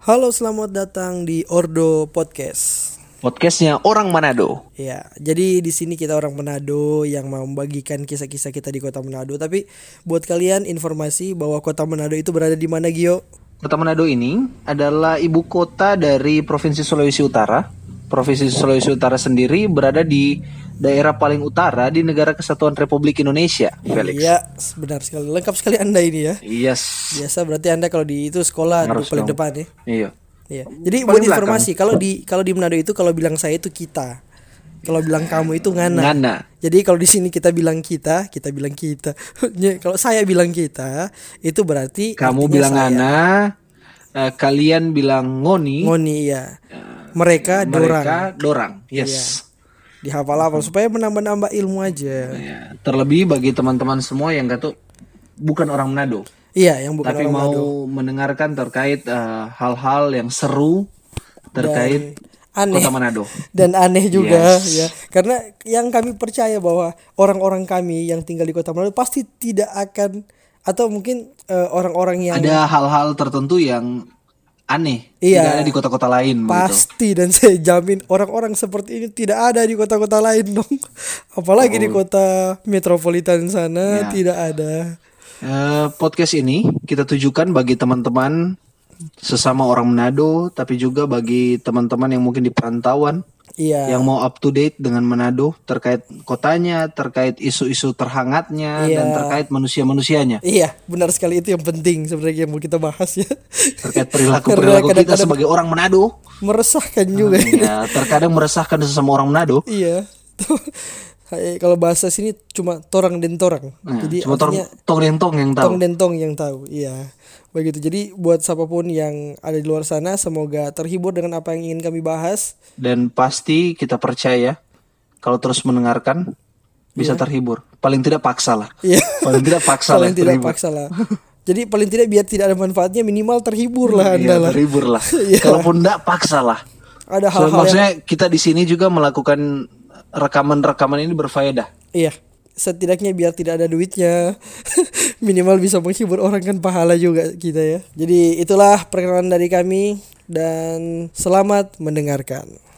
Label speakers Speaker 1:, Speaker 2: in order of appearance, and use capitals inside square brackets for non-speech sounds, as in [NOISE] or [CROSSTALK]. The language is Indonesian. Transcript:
Speaker 1: Halo, selamat datang di Ordo Podcast.
Speaker 2: Podcastnya orang Manado.
Speaker 1: Ya, jadi di sini kita orang Manado yang mau membagikan kisah-kisah kita di Kota Manado. Tapi buat kalian informasi bahwa Kota Manado itu berada di mana, Gio?
Speaker 2: Kota Manado ini adalah ibu kota dari Provinsi Sulawesi Utara. Provinsi Sulawesi Utara sendiri berada di daerah paling utara di Negara Kesatuan Republik Indonesia, Felix.
Speaker 1: Iya, benar sekali. Lengkap sekali Anda ini ya.
Speaker 2: Yes.
Speaker 1: Biasa berarti Anda kalau di itu sekolah di
Speaker 2: Harus
Speaker 1: paling
Speaker 2: dong.
Speaker 1: depan ya.
Speaker 2: Iya.
Speaker 1: Iya. Jadi
Speaker 2: Paling
Speaker 1: buat
Speaker 2: belakang.
Speaker 1: informasi, kalau di kalau di Manado itu kalau bilang saya itu kita. Kalau bilang kamu itu ngana.
Speaker 2: Ngana.
Speaker 1: Jadi kalau di sini kita bilang kita, kita bilang kita. [LAUGHS] Ya, kalau saya bilang kita, itu berarti
Speaker 2: Kamu
Speaker 1: artinya
Speaker 2: bilang
Speaker 1: Iya, saya.
Speaker 2: Ana, eh, kalian bilang Ngoni,
Speaker 1: Ngoni ya. Mereka, dorang.
Speaker 2: Ya, mereka dorang. Yes.
Speaker 1: Dihafal-hafal supaya menambah-nambah ilmu aja.
Speaker 2: Ya, Terlebih bagi teman-teman semua yang gak tuh bukan orang Manado.
Speaker 1: Iya, yang bukan
Speaker 2: tapi
Speaker 1: orang
Speaker 2: mau
Speaker 1: Manado.
Speaker 2: mendengarkan terkait eh, hal-hal yang seru terkait
Speaker 1: aneh.
Speaker 2: kota Manado.
Speaker 1: [LAUGHS] dan aneh juga
Speaker 2: Yes.
Speaker 1: ya karena yang kami percaya bahwa orang-orang kami yang tinggal di kota Manado pasti tidak akan atau mungkin eh, orang-orang yang
Speaker 2: Ada hal-hal tertentu yang aneh
Speaker 1: Iya.
Speaker 2: tidak ada di kota-kota lain begitu.
Speaker 1: pasti dan [LAUGHS] saya jamin orang-orang seperti ini tidak ada di kota-kota lain dong [LAUGHS] apalagi di
Speaker 2: Oh.
Speaker 1: kota metropolitan
Speaker 2: Ya.
Speaker 1: sana tidak ada
Speaker 2: Eh, podcast ini kita tujukan bagi teman-teman sesama orang Manado, tapi juga bagi teman-teman yang mungkin di perantauan
Speaker 1: iya
Speaker 2: yang mau up to date dengan Manado terkait kotanya, terkait isu-isu terhangatnya
Speaker 1: Iya.
Speaker 2: dan terkait manusia-manusianya.
Speaker 1: iya benar sekali itu yang penting sebenarnya yang mau kita bahas ya [LAUGHS]
Speaker 2: terkait perilaku perilaku
Speaker 1: Karena
Speaker 2: kita
Speaker 1: kadang-kadang
Speaker 2: sebagai orang Manado
Speaker 1: meresahkan juga ini
Speaker 2: ya terkadang meresahkan sesama orang Manado
Speaker 1: Iya. Hai, Kalau bahasa sini cuma torang dan torang.
Speaker 2: Ya,
Speaker 1: Jadi
Speaker 2: cuma tong
Speaker 1: artinya
Speaker 2: tong dan tong yang
Speaker 1: tong
Speaker 2: tahu
Speaker 1: dan tong yang tahu. Iya. Begitu. Jadi buat siapapun yang ada di luar sana semoga terhibur dengan apa yang ingin kami bahas.
Speaker 2: dan pasti kita percaya kalau terus mendengarkan bisa terhibur paling tidak paksa lah
Speaker 1: Iya.
Speaker 2: paling tidak paksa lah
Speaker 1: paling tidak
Speaker 2: terhibur.
Speaker 1: paksa lah. Jadi paling tidak biar tidak ada manfaatnya minimal terhibur lah
Speaker 2: Iya,
Speaker 1: Anda lah.
Speaker 2: terhibur lah
Speaker 1: Iya.
Speaker 2: kalaupun tidak paksa lah
Speaker 1: Ada
Speaker 2: So,
Speaker 1: hal-hal yang
Speaker 2: maksudnya kita di sini juga melakukan rekaman-rekaman ini berfaedah
Speaker 1: iya, setidaknya biar tidak ada duitnya. [LAUGHS] minimal bisa menghibur orang kan pahala juga kita ya. Jadi itulah perkenalan dari kami dan selamat mendengarkan.